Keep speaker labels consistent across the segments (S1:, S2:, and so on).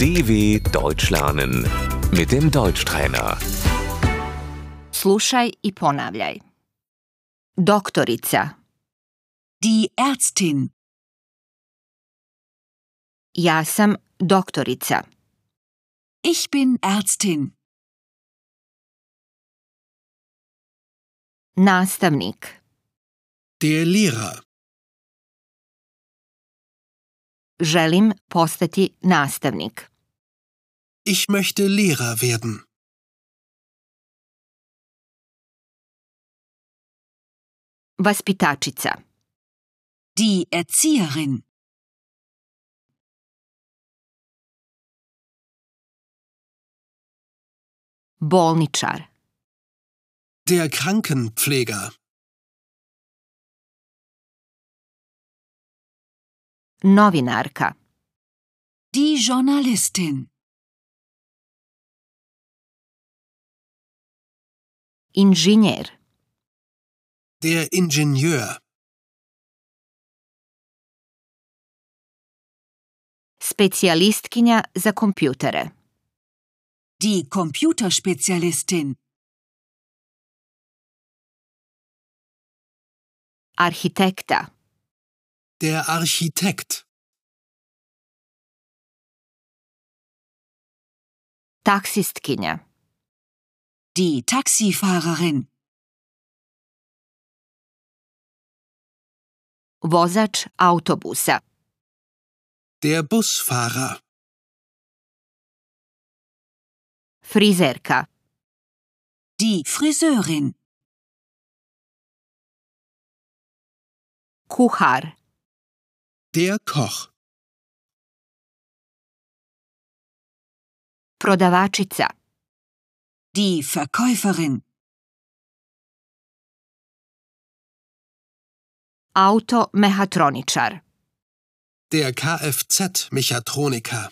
S1: DW Deutsch lernen mit dem Deutschtrainer.
S2: Slušaj i ponavljaj. Doktorica,
S3: Die Ärztin.
S2: ja sam doktorica.
S3: Ich bin Ärztin.
S2: Nastavnik,
S4: Der Lehrer.
S2: želim postati nastavnik.
S4: Ich möchte Lehrer werden.
S2: Vaspitačica,
S3: Die Erzieherin.
S2: bolničar,
S4: Der Krankenpfleger.
S2: novinarka,
S3: Die Journalistin.
S2: inženjer,
S4: Der Ingenieur.
S2: specijalistkinja za kompjutere,
S3: Die Computerspezialistin.
S2: arhitekta,
S4: Der Architekt.
S2: taksistkinja,
S3: Die Taxifahrerin.
S2: vozač autobusa,
S4: Der Busfahrer.
S2: frizerka,
S3: Die Friseurin.
S2: kuhar,
S4: Der Koch.
S2: prodavačica,
S3: Die Verkäuferin.
S2: automehatroničar,
S4: Der Kfz-Mechatroniker.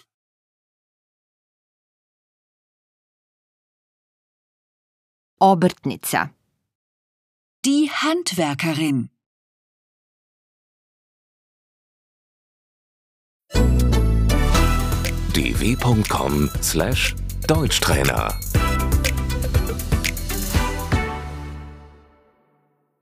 S2: obrtnica,
S3: Die Handwerkerin.
S1: dw.com/deutschtrainer